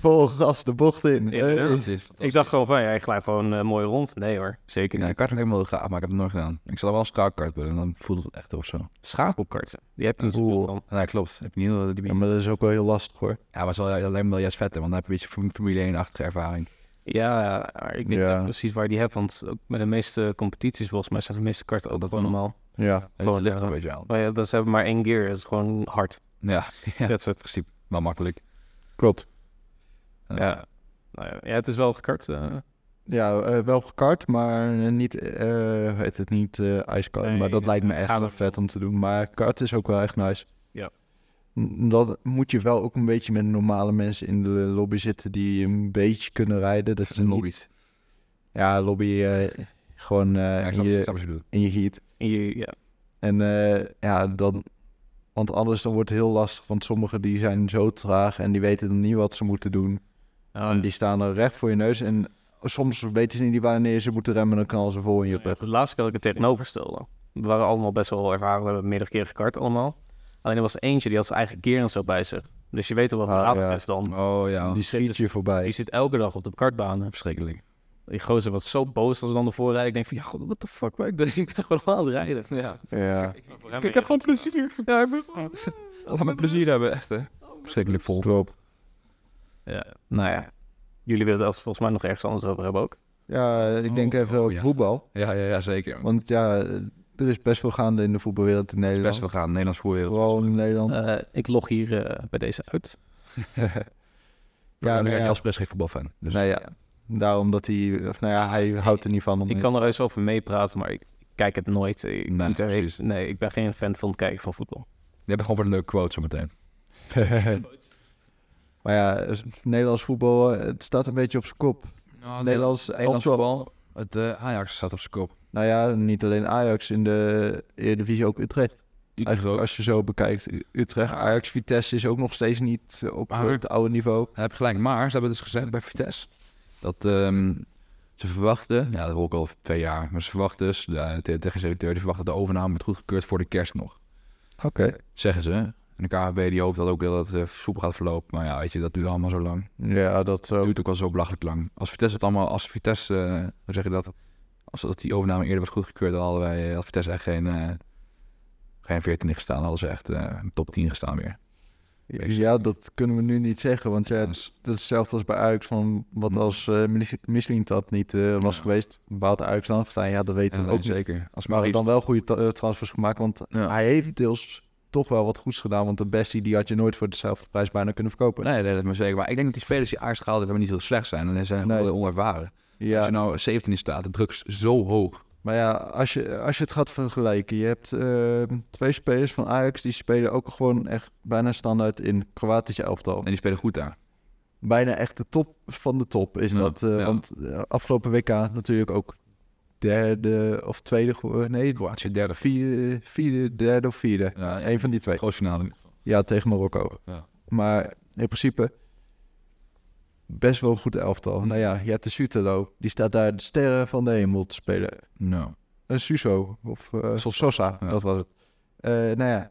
Speaker 1: Vol gas de bocht in.
Speaker 3: Ja,
Speaker 1: Eh,
Speaker 3: ja.
Speaker 1: is-
Speaker 3: Ik dacht gewoon van, ja, ik glij gewoon eh, mooi rond. Nee hoor, zeker
Speaker 2: Ja,
Speaker 3: niet.
Speaker 2: kart lijkt me wel gaaf, maar ik heb het nooit gedaan. Ik zal wel een schakelkart willen, dan voelt het echt of zo.
Speaker 3: Schakelkarten, die heb je niet
Speaker 1: Oeh.
Speaker 3: zoveel van.
Speaker 2: Ja, klopt. Heb je niet heel- die...
Speaker 1: Ja,
Speaker 2: Ja,
Speaker 1: maar dat is ook wel heel lastig hoor.
Speaker 2: maar het is wel, alleen wel juist vetter, want dan heb je een beetje fam- Formule 1-achtige ervaring.
Speaker 3: Ja, dus- maar ik weet
Speaker 1: Ja.
Speaker 3: niet echt precies waar je die hebt. Want ook bij de meeste competities volgens mij zijn de meeste karten ook
Speaker 2: Dat
Speaker 3: gewoon
Speaker 2: kan.
Speaker 3: normaal.
Speaker 1: Ja.
Speaker 2: Het
Speaker 3: Gewoon,
Speaker 2: ligt er
Speaker 3: eh,
Speaker 2: een beetje aan.
Speaker 3: Maar ja, dat ze hebben maar één gear. Dat is gewoon hard.
Speaker 2: Ja, ja.
Speaker 3: Dat soort.
Speaker 2: principe. Maar makkelijk.
Speaker 1: Klopt.
Speaker 2: Ja.
Speaker 3: Ja. Nou ja, ja, het is wel gekart. eh.
Speaker 1: Ja, eh, wel gekart, maar niet, eh heet het niet eh ijskart.
Speaker 3: Nee,
Speaker 1: maar dat lijkt me echt
Speaker 3: gaan
Speaker 1: wel
Speaker 3: we-
Speaker 1: vet om te doen. Maar kart is ook wel echt nice.
Speaker 3: Ja.
Speaker 1: N- Dat moet je wel ook een beetje met normale mensen in de lobby zitten die een beetje kunnen rijden. Dat je niet,
Speaker 2: Lobby's.
Speaker 1: ja, lobby eh, gewoon eh,
Speaker 2: Ja, ik
Speaker 1: in,
Speaker 2: snap, ik
Speaker 1: je,
Speaker 2: snap wat je bedoelt.
Speaker 1: in je heat.
Speaker 3: En je, ja,
Speaker 1: En eh, ja, dan, want anders dan wordt het heel lastig. Want sommigen die zijn zo traag en die weten dan niet wat ze moeten doen. En die staan er recht voor je neus. En soms weten ze niet wanneer ze moeten remmen. Dan knallen ze vol in je
Speaker 3: Nou ja,
Speaker 1: rug.
Speaker 3: De laatste keer dat ik het tegenoverstelde. We waren allemaal best wel ervaren. We hebben meerdere keren gekart allemaal. Alleen er was eentje die had zijn eigen gear en zo bij zich. Dus je weet al wat
Speaker 1: Ah,
Speaker 3: laat het
Speaker 1: ja.
Speaker 3: is dan.
Speaker 2: Oh ja,
Speaker 1: Die schiet je
Speaker 3: Die
Speaker 1: voorbij.
Speaker 3: zit elke dag op de kartbanen.
Speaker 2: verschrikkelijk.
Speaker 3: Die gozer was zo boos als dan de voorrijder. Ik denk van, ja, god, what the fuck, waar ik ben ik ben gewoon aan het rijden.
Speaker 2: Ja.
Speaker 1: Ja.
Speaker 3: Ik, heb gewoon plezier. Ja, ik ben gewoon...
Speaker 2: Laat me plezier hebben, echt hè. Verschrikkelijk vol.
Speaker 1: Klopt.
Speaker 3: Ja, nou ja. Jullie willen het volgens mij nog ergens anders over hebben ook.
Speaker 1: Ja, ik denk
Speaker 2: Oh,
Speaker 1: even
Speaker 2: oh,
Speaker 1: over
Speaker 2: ja.
Speaker 1: voetbal.
Speaker 2: Ja, ja, ja, zeker.
Speaker 1: Want ja, er is best veel gaande in de voetbalwereld in Nederland.
Speaker 2: Best wel gaan, Nederlands voorwereld.
Speaker 1: Gewoon in Nederland.
Speaker 3: Eh, ik log hier eh, bij deze uit.
Speaker 1: ja,
Speaker 2: ja,
Speaker 1: nou ja.
Speaker 2: Jasper is geen voetbalfan. Dus
Speaker 1: Nou ja, daarom dat hij... Of nou ja, hij houdt er niet van. Om
Speaker 3: Ik kan er eens over meepraten, maar ik kijk het nooit. Ik,
Speaker 2: Nee,
Speaker 3: niet erheen-
Speaker 2: precies.
Speaker 3: nee, ik ben geen fan van het kijken van voetbal.
Speaker 2: je hebt gewoon voor een leuke quote zometeen.
Speaker 1: maar ja, Nederlands voetbal, eh, het staat een beetje op zijn kop.
Speaker 2: Oh,
Speaker 1: Nederlands,
Speaker 2: Nou, Nederlands
Speaker 1: elftal-
Speaker 2: voetbal, het eh, Ajax staat op zijn kop.
Speaker 1: Nou ja, niet alleen Ajax in de Eredivisie, ook Utrecht.
Speaker 2: Utrecht
Speaker 1: Eigenlijk
Speaker 2: ook.
Speaker 1: als je zo bekijkt, U- Utrecht, Ajax, Vitesse is ook nog steeds niet eh, op
Speaker 2: Maar-
Speaker 1: het oude niveau.
Speaker 2: Hij heeft gelijk. Maar ze hebben dus gezegd bij Vitesse dat ehm, ze verwachten, ja, dat hoor ik al twee jaar, maar ze verwachten dus, de, de, de directeur die verwacht dat de overname wordt goedgekeurd voor de kerst nog.
Speaker 1: Oké.
Speaker 2: Zeggen ze. En de KVB die hoopt dat ook dat het eh, soepel gaat verlopen. Maar ja, weet je, dat duurt allemaal zo lang.
Speaker 1: Ja, dat
Speaker 2: Het
Speaker 1: ook.
Speaker 2: duurt ook al zo belachelijk lang. Als Vitesse het allemaal, als Vitesse, eh, hoe zeg je dat? Als dat die overname eerder was goedgekeurd, dan hadden wij, had Vitesse echt geen, eh geen 14 gestaan. Dan hadden ze echt eh, top 10 gestaan weer.
Speaker 1: Ja, dat kunnen we nu niet zeggen, want ja, het
Speaker 2: Dus-
Speaker 1: dat is hetzelfde als bij Ajax. Van wat als eh Mis- Misling dat niet eh, was
Speaker 2: Mm. Ja.
Speaker 1: geweest, waar had Ajax dan gestaan? Ja, dat weten
Speaker 2: Ja,
Speaker 1: we
Speaker 2: nee,
Speaker 1: ook niet.
Speaker 2: zeker. Als
Speaker 1: Maar hij
Speaker 2: Maurice-
Speaker 1: heeft dan wel goede ta- eh, transfers gemaakt, want
Speaker 2: Ja.
Speaker 1: hij heeft deels toch wel wat goeds gedaan. Want de Bestie, die had je nooit voor dezelfde prijs bijna kunnen verkopen.
Speaker 2: Nee, nee, dat is maar zeker. Maar ik denk dat die spelers die Ajax gehaald hebben niet heel slecht zijn. En ze zijn gewoon
Speaker 1: Nee.
Speaker 2: heel onervaren.
Speaker 1: Ja,
Speaker 2: Als je nou 17 in staat, de druk is zo hoog.
Speaker 1: Maar ja, als je, als je het gaat vergelijken, je hebt eh, twee spelers van Ajax die spelen ook gewoon echt bijna standaard in Kroatische elftal.
Speaker 2: En die spelen goed daar.
Speaker 1: Bijna echt de top van de top is
Speaker 2: Ja,
Speaker 1: dat. eh,
Speaker 2: ja.
Speaker 1: Want eh, afgelopen WK natuurlijk ook derde of tweede geworden. Nee,
Speaker 2: Kroatië derde.
Speaker 1: vierde, vierde, derde of vierde.
Speaker 2: Ja,
Speaker 1: Eén van die twee.
Speaker 2: grootfinale.
Speaker 1: Ja, tegen Marokko.
Speaker 2: Ja.
Speaker 1: Maar in principe best wel een goed
Speaker 2: Mm.
Speaker 1: elftal. Nou ja, je hebt de Sutelo. Die staat daar de sterren van de hemel te spelen.
Speaker 2: Nou,
Speaker 1: Een Suso of eh,
Speaker 2: Sosa.
Speaker 1: Sosa,
Speaker 2: Ja.
Speaker 1: dat was het. Eh, nou ja,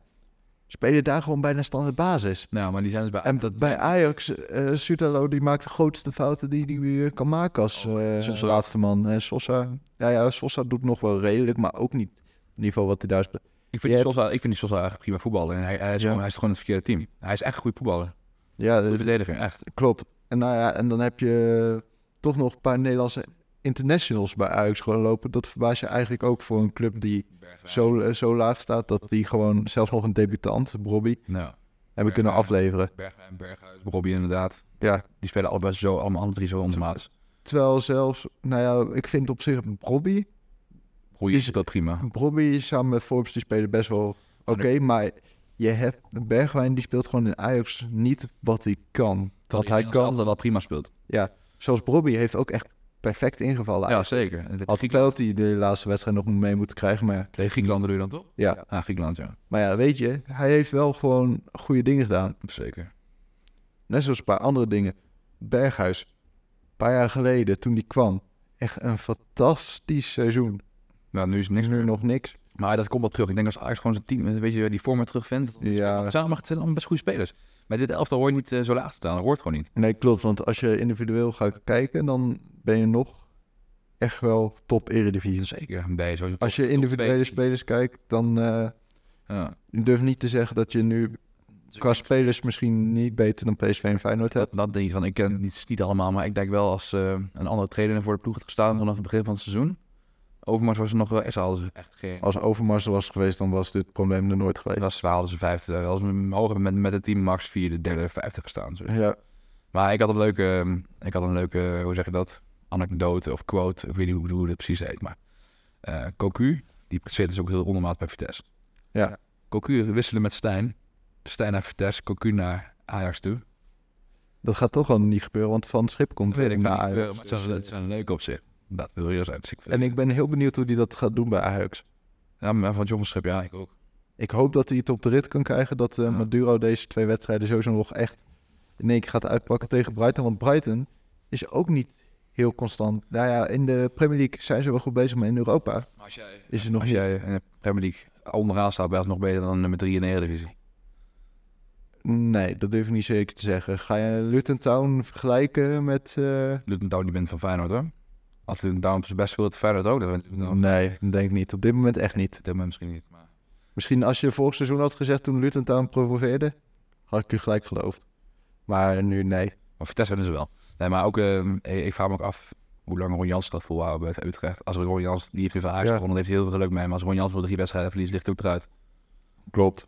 Speaker 1: spelen daar gewoon bijna standaard basis.
Speaker 2: nou, maar die zijn dus bij...
Speaker 1: En
Speaker 2: dat,
Speaker 1: bij Ajax, eh Sutalo die maakt de grootste fouten die die eh, kan maken als eh,
Speaker 2: Oh, Sosa.
Speaker 1: laatste man. En Sosa, ja, ja, Sosa doet nog wel redelijk, maar ook niet op het niveau wat hij daar speelt.
Speaker 2: ik,
Speaker 1: je
Speaker 2: vind die
Speaker 1: hebt-
Speaker 2: Sosa, ik vind die Sosa eigenlijk prima voetballer. En hij, hij, is
Speaker 1: Ja.
Speaker 2: gewoon, hij is gewoon in het verkeerde team. Hij is echt een goede voetballer.
Speaker 1: Ja,
Speaker 2: Goede
Speaker 1: dat
Speaker 2: verdediger, echt.
Speaker 1: klopt. En, nou ja, en dan heb je toch nog een paar Nederlandse internationals bij Ajax gewoon lopen. Dat verbaas je eigenlijk ook voor een club die zo, eh, zo laag staat dat die gewoon zelfs nog een debutant, Robbie,
Speaker 2: Nou,
Speaker 1: hebben kunnen afleveren.
Speaker 2: Bergwijn, Berghuis, Robbie inderdaad.
Speaker 1: Ja.
Speaker 2: Die spelen allebei zo, allemaal alle drie zo ondermaats.
Speaker 1: Terwijl zelfs, nou ja, ik vind op zich Robbie,
Speaker 2: Roei
Speaker 1: Die
Speaker 2: is
Speaker 1: is-
Speaker 2: dat prima.
Speaker 1: Robbie samen met Forbes, die spelen best wel oké, maar je hebt Bergwijn, die speelt gewoon in Ajax niet wat hij kan. Wat hij kan,
Speaker 2: altijd wel prima speelt.
Speaker 1: zoals Robbie heeft ook echt perfect ingevallen.
Speaker 2: Ja, zeker. En Tegen
Speaker 1: Had
Speaker 2: Griekenland-
Speaker 1: hij de laatste wedstrijd nog mee moeten krijgen, maar
Speaker 2: tegen Griekenland doe je dan toch?
Speaker 1: ja.
Speaker 2: Ah, Griekenland, ja.
Speaker 1: Maar ja, weet je, hij heeft wel gewoon goede dingen gedaan.
Speaker 2: Zeker.
Speaker 1: Net zoals een paar andere dingen. Berghuis, een paar jaar geleden, toen die kwam, echt een fantastisch seizoen.
Speaker 2: Nou, nu is het niks
Speaker 1: Niks
Speaker 2: meer.
Speaker 1: nu nog niks.
Speaker 2: Maar dat komt wel terug. Ik denk als Ajax gewoon zijn team, weet je, die vorm weer terugvindt. Het
Speaker 1: Ja,
Speaker 2: zijn allemaal, het zijn allemaal best goede spelers. Maar dit elftal hoor je niet eh, zo laag te staan. Dat hoort gewoon niet.
Speaker 1: Nee, klopt. Want als je individueel gaat kijken, dan ben je nog echt wel top eredivisie.
Speaker 2: Zeker. Bij zo
Speaker 1: Als je individuele spelers kijkt, dan eh
Speaker 2: Ja,
Speaker 1: ik durf niet te zeggen dat je nu qua spelers misschien niet beter dan PSV en Feyenoord
Speaker 2: dat,
Speaker 1: hebt.
Speaker 2: dat denk ik van. Ik ken het niet, niet allemaal, maar ik denk wel als eh, een andere trainer voor de ploeg had gestaan vanaf het begin van het seizoen. Overmars was er nog wel echt, hadden ze echt geen.
Speaker 1: Als Overmars er was geweest, dan was dit probleem er nooit geweest.
Speaker 2: Dat zwaar hadden ze vijfde. Als we hoger met, met het team max vierde, derde, vijfde gestaan. Zo.
Speaker 1: Ja,
Speaker 2: Maar ik had een leuke, ehm, ik had een leuke, hoe zeg je dat? Anekdote of quote, ik weet niet hoe, hoe het precies heet, maar eh Cocu, die zit dus ook heel ondermaat bij Vitesse.
Speaker 1: Ja.
Speaker 2: Cocu wisselen met Stijn. Stijn naar Vitesse, Cocu naar Ajax toe.
Speaker 1: dat gaat toch wel niet gebeuren, want Van Schip komt
Speaker 2: Dat weet ik
Speaker 1: naar
Speaker 2: niet.
Speaker 1: Ajax.
Speaker 2: maar Het zijn, het zijn leuke op zich. Dat wil je zijn. Dus ik vind-
Speaker 1: En ik ben heel benieuwd hoe hij dat gaat doen bij Ajax.
Speaker 2: ja, maar van John van Schip, ja, ik ook.
Speaker 1: Ik hoop dat hij het op de rit kan krijgen, dat eh,
Speaker 2: Ja.
Speaker 1: Maduro deze twee wedstrijden sowieso nog echt in één keer gaat uitpakken tegen Brighton. Want Brighton is ook niet heel constant. Nou ja, in de Premier League zijn ze wel goed bezig, maar in Europa
Speaker 2: Als jij,
Speaker 1: is het nog
Speaker 2: als
Speaker 1: niet.
Speaker 2: jij in de Premier League onderaan staat, ben je nog beter dan nummer 3 in de Eredivisie.
Speaker 1: Nee, dat durf ik niet zeker te zeggen. Ga je Luton Town vergelijken met... eh,
Speaker 2: Luton Down, die bent van Feyenoord, hoor. Als Luton Down op zijn best speelt, Feyenoord ook. Dan Luton Town-
Speaker 1: Nee, dat denk ik niet. Op dit moment echt niet.
Speaker 2: Op dit moment misschien niet, maar...
Speaker 1: Misschien als je vorig seizoen had gezegd toen Luton Town promoveerde, had ik je gelijk geloofd. Maar nu nee.
Speaker 2: Maar Vitesse hebben ze wel. Nee, maar ook, ehm, ik, ik vraag me ook af hoe lang Ron Jans dat volhouden bij Utrecht. Als Ron Jans, die heeft nu van Ajax
Speaker 1: Ja.
Speaker 2: gewonnen, heeft heel veel geluk mee. Maar als Ron Jans wil drie wedstrijden verliezen, ligt het ook eruit.
Speaker 1: Klopt.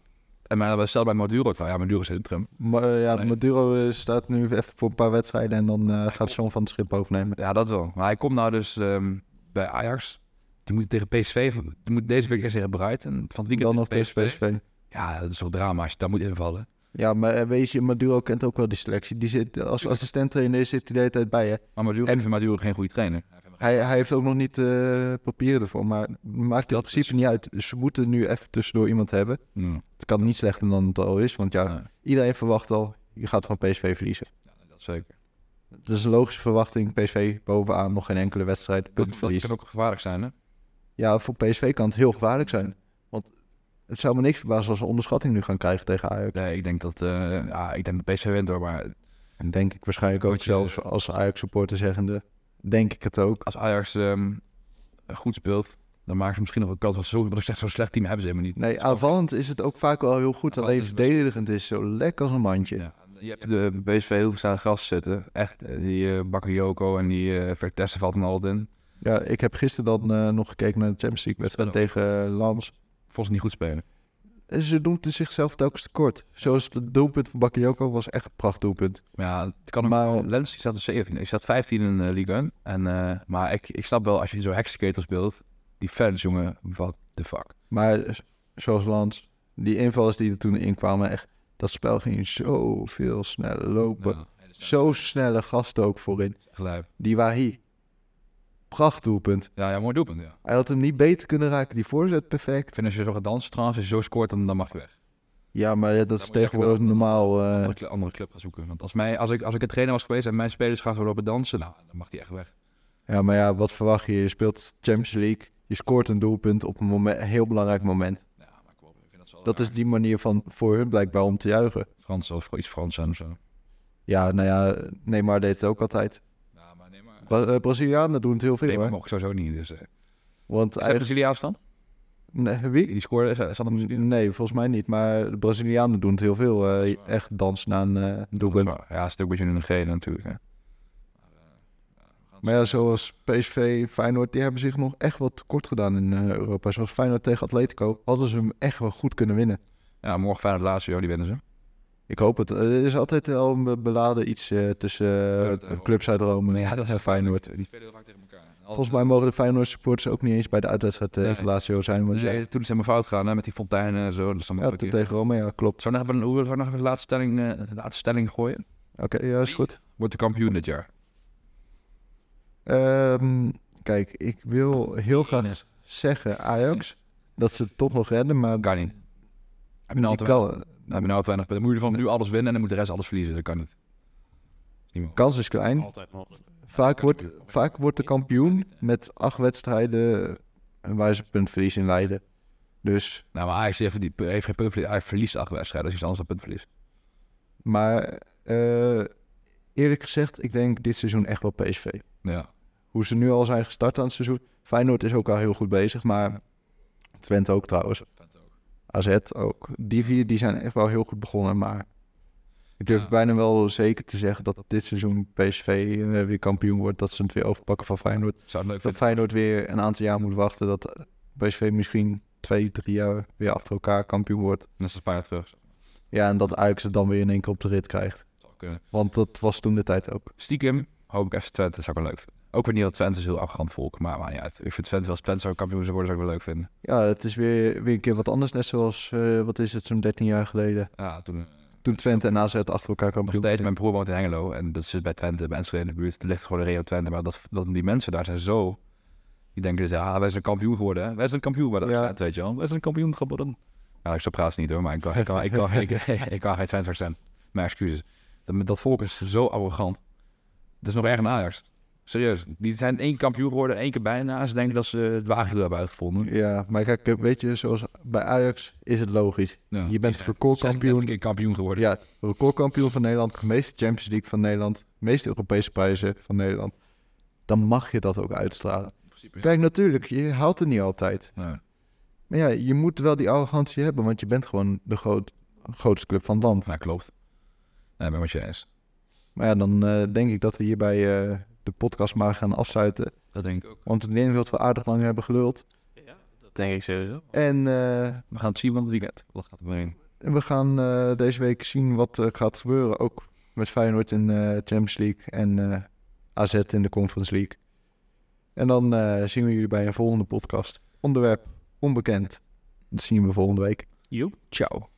Speaker 2: En maar stel bij Maduro het wel. Ja, Maduro zit in trim.
Speaker 1: Maar eh, ja,
Speaker 2: Nee.
Speaker 1: Maduro eh, staat nu even voor een paar wedstrijden en dan eh, gaat John van het Schip overnemen.
Speaker 2: Ja, dat wel. Maar hij komt nou dus ehm, bij Ajax. Die moet tegen PSV, van- die moet deze week eerst tegen Brighton. Van het weekend
Speaker 1: Dan nog
Speaker 2: tegen
Speaker 1: tegen PSV.
Speaker 2: Ja, dat is toch drama als je daar moet invallen.
Speaker 1: Ja, maar eh, weet je, Maduro kent ook wel die selectie. Die zit, eh, als assistent trainer zit hij de hele tijd bij je.
Speaker 2: Maar Maduro, en ik vind Maduro geen goede trainer.
Speaker 1: Hij, hij heeft ook nog niet eh, papieren ervoor, maar maakt het in
Speaker 2: Dat
Speaker 1: principe
Speaker 2: is-
Speaker 1: niet uit. Ze moeten nu even tussendoor iemand hebben.
Speaker 2: Ja,
Speaker 1: Het kan niet slechter dan het al is, want ja,
Speaker 2: Nee.
Speaker 1: iedereen verwacht al, je gaat van PSV verliezen.
Speaker 2: dat zeker.
Speaker 1: Dat is een logische verwachting. PSV bovenaan, nog geen enkele wedstrijd,
Speaker 2: Dat, dat
Speaker 1: puntverlies.
Speaker 2: kan ook gevaarlijk zijn, hè?
Speaker 1: Ja, voor PSV kan het heel gevaarlijk zijn. Want het zou me niks verbazen als ze onderschatting nu gaan krijgen tegen Ajax.
Speaker 2: Nee, ik denk dat, eh, ja, ik denk dat PSV wint hoor, maar
Speaker 1: En denk ik waarschijnlijk ook
Speaker 2: Wat je-
Speaker 1: zelfs als Ajax-supporter zeggende, denk ik het ook.
Speaker 2: als Ajax ehm, goed speelt, dan maken ze misschien nog een kans. Want zo, wat ik zeg, zo'n slecht team hebben ze helemaal niet.
Speaker 1: Nee, aanvallend is het ook vaak wel heel goed.
Speaker 2: Aanvallend
Speaker 1: Alleen
Speaker 2: is het best-
Speaker 1: verdedigend is zo lekker als een mandje.
Speaker 2: Ja. Je hebt de BSV heel veel staan gras zitten. Echt, eh, die eh Bakayoko en die eh Vertessen valt dan altijd in.
Speaker 1: Ja, ik heb gisteren dan eh, nog gekeken naar de Champions League wedstrijd
Speaker 2: Dat is
Speaker 1: tegen eh, Lans.
Speaker 2: Volgens niet goed spelen.
Speaker 1: En ze doen het zichzelf telkens tekort. Zoals het doelpunt van Bakayoko was echt een prachtdoelpunt.
Speaker 2: Maar ja, het kan ook.
Speaker 1: Maar-
Speaker 2: Lens die eh, staat op 17. Ik staat 15 in de Ligue 1. En, eh, maar ik, ik snap wel, als je zo hexaketel speelt, die fans, jongen, what the fuck.
Speaker 1: Maar s- zoals Lans, die invallers die er toen inkwamen, echt, dat spel ging zoveel sneller lopen.
Speaker 2: Ja,
Speaker 1: Zo snelle gasten ook voorin.
Speaker 2: gelijk.
Speaker 1: Die Wahi. Prachtdoelpunt.
Speaker 2: Ja, ja, mooi doelpunt, ja.
Speaker 1: Hij had hem niet beter kunnen raken. Die voorzet perfect.
Speaker 2: Ik vind als je zo gaat dansen trouwens, als je zo scoort, dan, dan mag je weg.
Speaker 1: Ja, maar ja, dat is
Speaker 2: moet je echt
Speaker 1: tegenwoordig
Speaker 2: wel-
Speaker 1: normaal. eh,
Speaker 2: Andere, cl- andere club gaan zoeken. Want als, mij, als, ik, als ik een trainer was geweest en mijn spelers gaan zo lopen dansen, nou, dan mag die echt weg.
Speaker 1: Ja, maar ja, wat verwacht je? Je speelt Champions League. Je scoort een doelpunt op een, momen- een heel belangraik moment.
Speaker 2: Ja, maar kom op, ik vind dat zo
Speaker 1: Dat is die manier van voor hun blijkbaar om te juichen.
Speaker 2: Frans of iets Frans zijn of zo.
Speaker 1: Ja, nou ja, Neymar deed het ook altijd.
Speaker 2: Ja, maar nee, maar...
Speaker 1: Bra- eh, Brazilianen doen het heel
Speaker 2: Nee,
Speaker 1: veel,
Speaker 2: maar
Speaker 1: hè?
Speaker 2: mocht ik sowieso niet. Dus, eh. Is
Speaker 1: Want
Speaker 2: hij
Speaker 1: eigenlijk...
Speaker 2: Braziliaans dan?
Speaker 1: Nee, wie?
Speaker 2: Die scoorde, is dat- is dat een Braziliaan?
Speaker 1: Nee, volgens mij niet. Maar de Brazilianen doen het heel veel. eh,
Speaker 2: is waar.
Speaker 1: echt dansen aan eh
Speaker 2: Dat is
Speaker 1: doelpunt.
Speaker 2: waar. Ja, is het ook een beetje in de gele natuurlijk. Hè.
Speaker 1: Maar ja, zoals PSV, Feyenoord, die hebben zich nog echt wat tekort gedaan in eh, Europa. Zoals Feyenoord tegen Atletico hadden ze hem echt wel goed kunnen winnen.
Speaker 2: Ja, morgen Feyenoord Lazio, die winnen ze.
Speaker 1: Ik hoop het. Eh, Er is altijd wel een be- beladen iets eh, tussen eh,
Speaker 2: Feyenoord en
Speaker 1: clubs uit Rome.
Speaker 2: Ja, dat
Speaker 1: en Feyenoord.
Speaker 2: Die spelen heel vaak tegen elkaar.
Speaker 1: Volgens mij mogen de Feyenoord supporters ook niet eens bij de uitwedstrijd tegen
Speaker 2: Nee.
Speaker 1: Lazio zijn. Want ja,
Speaker 2: Nee, toen is het helemaal fout gegaan hè, met die fonteinen en zo. Dat is allemaal
Speaker 1: ja, toen
Speaker 2: verkeerd.
Speaker 1: tegen Rome, ja, klopt.
Speaker 2: Zou nog even, hoe- zou nog even de laatste stelling, eh, de laatste stelling gooien?
Speaker 1: Oké, ja, is goed.
Speaker 2: Wordt de kampioen dit jaar?
Speaker 1: Ehm, kijk, ik wil heel graag zeggen, Ajax, dat ze het toch nog redden, maar
Speaker 2: Kan niet. Heb je nou al
Speaker 1: die
Speaker 2: te weinig?
Speaker 1: kan,
Speaker 2: Heb je nou al te weinig? punten? Moet je van nu alles winnen en dan moet de rest alles verliezen? Dat kan niet. Is niet mogelijk.
Speaker 1: kans is klein.
Speaker 3: Altijd mogelijk.
Speaker 1: Vaak wordt, vaak wordt de kampioen met acht wedstrijden eh, waar ze puntverlies in leiden. Dus,
Speaker 2: Nou, maar Ajax heeft, die, heeft geen puntverlies. Hij verliest acht wedstrijden. Dat is iets anders dan puntverlies.
Speaker 1: maar eh, eerlijk gezegd, ik denk dit seizoen echt wel PSV.
Speaker 2: Ja.
Speaker 1: hoe ze nu al zijn gestart aan het seizoen. Feyenoord is ook al heel goed bezig, maar Twente ook trouwens. AZ ook. Die vier die zijn echt wel heel goed begonnen, maar ik durf
Speaker 2: Ja.
Speaker 1: bijna wel zeker te zeggen dat dit seizoen PSV eh, weer kampioen wordt. Dat ze het weer overpakken van Feyenoord.
Speaker 2: Zou het leuk
Speaker 1: Dat
Speaker 2: vinden.
Speaker 1: Feyenoord weer een aantal jaar moet wachten. Dat PSV misschien twee, drie jaar weer achter elkaar kampioen wordt.
Speaker 2: Net zoals Feyenoord terug.
Speaker 1: Ja, en dat Ajax het dan weer in één keer op de rit krijgt.
Speaker 2: Zou kunnen.
Speaker 1: Want dat was toen de tijd ook.
Speaker 2: Stiekem hoop ik FC Twente, dat zou ik wel leuk vinden. Ook weer niet dat Twente is heel arrogant volk, maar, maar ja, ik vind Twente, als Twente zou kampioen zou worden, zou ik wel leuk vinden.
Speaker 1: Ja, het is weer, weer een keer wat anders. Net zoals, eh, wat is het, zo'n 13 jaar geleden.
Speaker 2: Ja, toen eh,
Speaker 1: Toen Twente en AZ achter elkaar
Speaker 2: nog
Speaker 1: kampioen
Speaker 2: steeds,
Speaker 1: werden.
Speaker 2: mijn broer woont in Hengelo en dat zit bij Twente, bij Enschede in de buurt, er ligt gewoon de Rio Twente, maar dat, dat die mensen daar zijn zo, die denken dus, ja, wij zijn kampioen geworden, hè? wij zijn kampioen geworden,
Speaker 1: Ja.
Speaker 2: ja. weet je wel, wij zijn kampioen geworden. Ja, ik zo praat niet hoor, maar ik kan, ik kan, ik kan, ik, ik kan geen Twente accent, mijn excuses. Dat, dat volk is zo arrogant, dat is nog erger dan Ajax. Serieus, die zijn één kampioen geworden, één keer bijna, en ze denken dat ze het wagentiel hebben uitgevonden.
Speaker 1: Ja, maar kijk, weet je, zoals bij Ajax is het logisch.
Speaker 2: Ja.
Speaker 1: Je bent
Speaker 2: Ja.
Speaker 1: recordkampioen.
Speaker 2: 36 keer kampioen geworden.
Speaker 1: Ja, recordkampioen van Nederland, de meeste Champions League van Nederland, de meeste Europese prijzen van Nederland. Dan mag je dat ook uitstralen.
Speaker 2: in principe.
Speaker 1: Kijk, natuurlijk, je haalt het niet altijd.
Speaker 2: Nee.
Speaker 1: Maar ja, je moet wel die arrogantie hebben, want je bent gewoon de groot, grootste club van het land.
Speaker 2: Nou, klopt. Nee, ben ik met je eens.
Speaker 1: Maar ja, dan eh, denk ik dat we hierbij eh, de podcast maar gaan afsluiten.
Speaker 2: Dat denk ik ook.
Speaker 1: Want ik denk dat we aardig lang hebben geluld.
Speaker 3: Dat denk ik sowieso.
Speaker 1: En... eh,
Speaker 2: We gaan het zien van het weekend. Wat gaat er weer in?
Speaker 1: En We gaan eh, deze week zien wat er gaat gebeuren. Ook met Feyenoord in de Champions League en eh, AZ in de Conference League. En dan eh, zien we jullie bij een volgende podcast. Onderwerp onbekend. Dat zien we volgende week.
Speaker 3: Joep.
Speaker 2: Ciao.